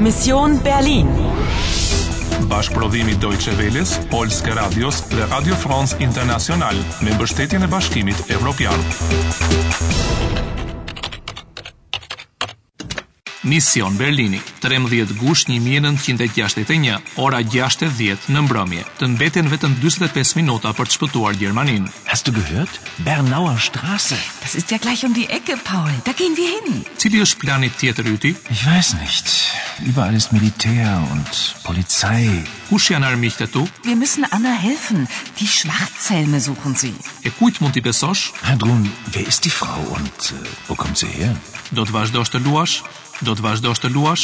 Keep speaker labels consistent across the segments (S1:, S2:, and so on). S1: Mission Berlin.
S2: Bashkëprodhimi Deutsche Welles, Polske Radios dhe Radio France International me mbështetjen e Bashkimit Evropian. Mision Berlini, 13 gusht 1961, ora 6:10 në mbrëmje. Të mbeten vetëm 45 minuta për të shpëtuar Gjermaninë.
S3: Hast du gehört? Bernauer Straße.
S4: Das ist ja gleich um die Ecke, Paul. Da gehen wir hin.
S2: Cili është plani tjetër yti?
S3: Ich weiß nicht. Überall ist Militär und Polizei.
S2: Kush janë armiqtë tu?
S4: Wir müssen Anna helfen. Die Schwarzhelme suchen sie.
S2: E kujt mund t'i besosh?
S3: Handrun, wer ist die Frau und äh, wo kommt sie her?
S2: Do të vazhdosh të luash? Do të vazhdosh të luash?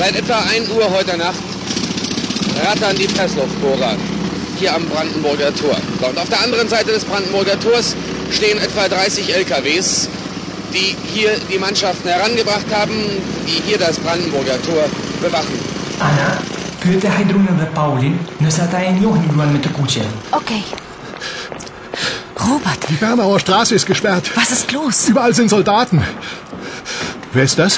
S5: Seit etwa 1 Uhr heute Nacht rattern die Pressluftbohrer hier am Brandenburger Tor. So, Und auf der anderen Seite des Brandenburger Tors stehen etwa 30 LKWs, die hier die Mannschaften herangebracht haben, die hier das Brandenburger Tor bewachen.
S6: Ana, pyete Hajdrunën dhe Paulin nëse ata e njohin gruan me të kuqe.
S4: Okay. Robert,
S7: Die Bernauer Straße ist gesperrt.
S4: was ist los?
S7: Überall sind Soldaten. Wer ist das?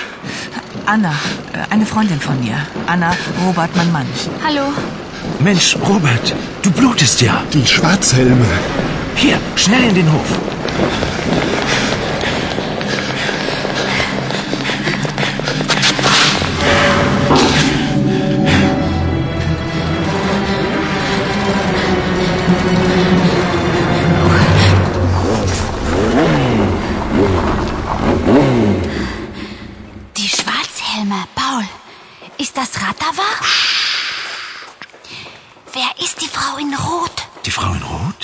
S4: Anna, äh, eine Freundin von mir. Anna, Robert, mein Mann.
S8: Hallo.
S3: Mensch, Robert, du blutest ja.
S7: Die Schwarzhelme.
S3: Hier, schnell in den Hof.
S8: Die Schwarzhelme. Paul, ist das Ratava? Wer ist die Frau in Rot?
S3: Die Frau in Rot?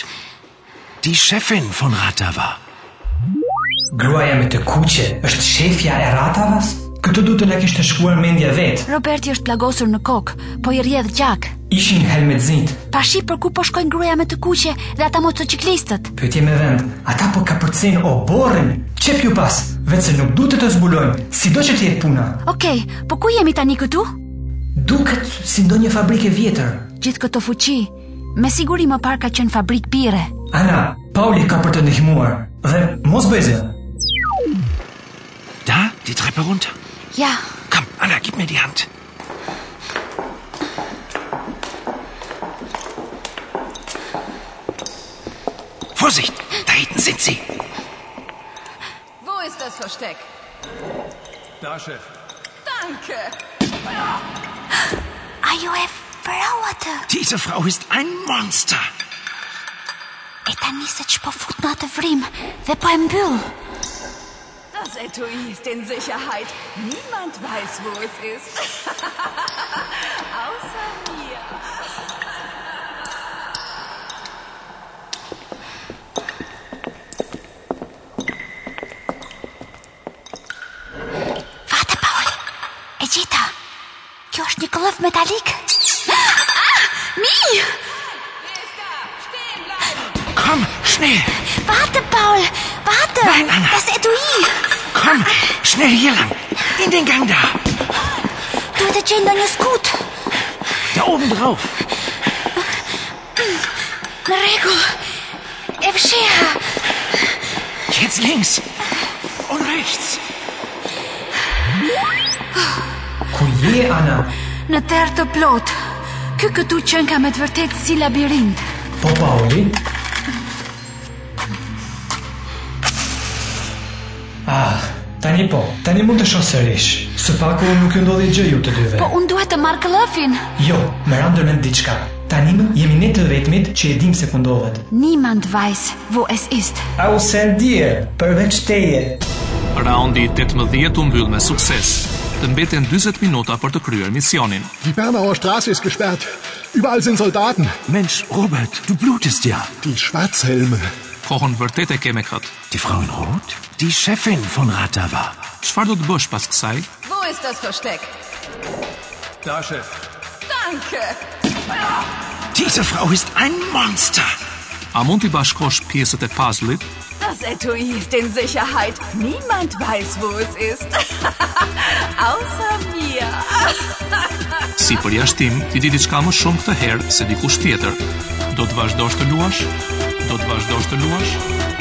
S3: Die Chefin von Ratava.
S6: Gruaja me të kuqe është shefja e ratavas? Këtë du të la kishte shkuar mendja vetë.
S8: Roberti është plagosur në kokë, po i rjedh gjak.
S6: Ishin helmetzit.
S8: Pa shi për ku po shkojnë gruaja me të kuqe dhe ata motociklistët.
S6: Pyetje me vend, ata po kapërcejnë o borrin. Çep ju pas, vetë se nuk duhet të të zbulojmë, sido që të jetë puna.
S8: Okej, po ku jemi tani këtu?
S6: Duket si ndonjë fabrikë e vjetër.
S8: Gjithë këto fuqi, me siguri më parë ka qenë fabrik bire.
S6: Ana, Pauli ka për të ndihmuar dhe mos bëj zë.
S3: Da, die Treppe runter.
S8: Ja,
S3: Komm, Anna, gib mir die Hand. Vorsicht, da hinten sind sie.
S9: Wo ist das Versteck?
S2: Da shef.
S9: Danke.
S8: ajo e vrauatë.
S3: Diese Frau ist ein Monster.
S8: E tani se që po fut në atë vrim dhe po e mbyll.
S9: Das Etui ist in Sicherheit. Niemand weiß, wo es ist. Außer mir.
S8: Vate, Paul, e gjeta. Kjo është një këllëf metalik. Ah, mi!
S9: Wer ist da? Stehen bleiben!
S3: Komm, schnell.
S8: Vate, Paul, vate.
S3: Vajt, Ana.
S8: Das etui.
S3: Komm, schnell hier lang. In den Gang da.
S8: Duhet të gjej ndonjë skut.
S3: Da oben drauf.
S8: Në rregull. E fsheha.
S3: Jetzt links. Und rechts.
S6: Ku je Ana?
S8: Në terë të plot. Ky këtu qen ka me të vërtet si labirint.
S6: Po Pauli? Ah, tani po, tani mund të shoh sërish. Së paku nuk ju ndodhi gjë ju të dyve.
S8: Po unë duhet të marr këllëfin.
S6: Jo, më ra ndërmend diçka. Tani më jemi ne të vetmit që e dim se ku ndodhet.
S8: Niemand weiß, wo es ist.
S6: Au sen die, përveç teje.
S2: Raundi i 18 u mbyll me sukses. Të mbeten 40 minuta për të kryer misionin.
S7: Die Bernauer Straße ist gesperrt. Überall sind Soldaten.
S3: Mensch, Robert, du blutest ja.
S7: Die Schwarzhelme.
S2: Kohën vërtet e ke me kët.
S3: Die Frau in Rot? Die Chefin von Ratava.
S2: Çfarë do të bësh pas kësaj?
S9: Wo ist das Versteck?
S2: Da shef.
S9: Danke.
S3: Diese Frau ist ein Monster.
S2: A mund t'i bashkosh pjesët e puzzle-it?
S9: Das Etui ist in Sicherheit. Niemand weiß, wo es ist. Außer mir.
S2: Si për jashtim, ti di diçka më shumë këtë herë se dikush tjetër. Do të vazhdosh të luash? Do të vazhdosh të luash?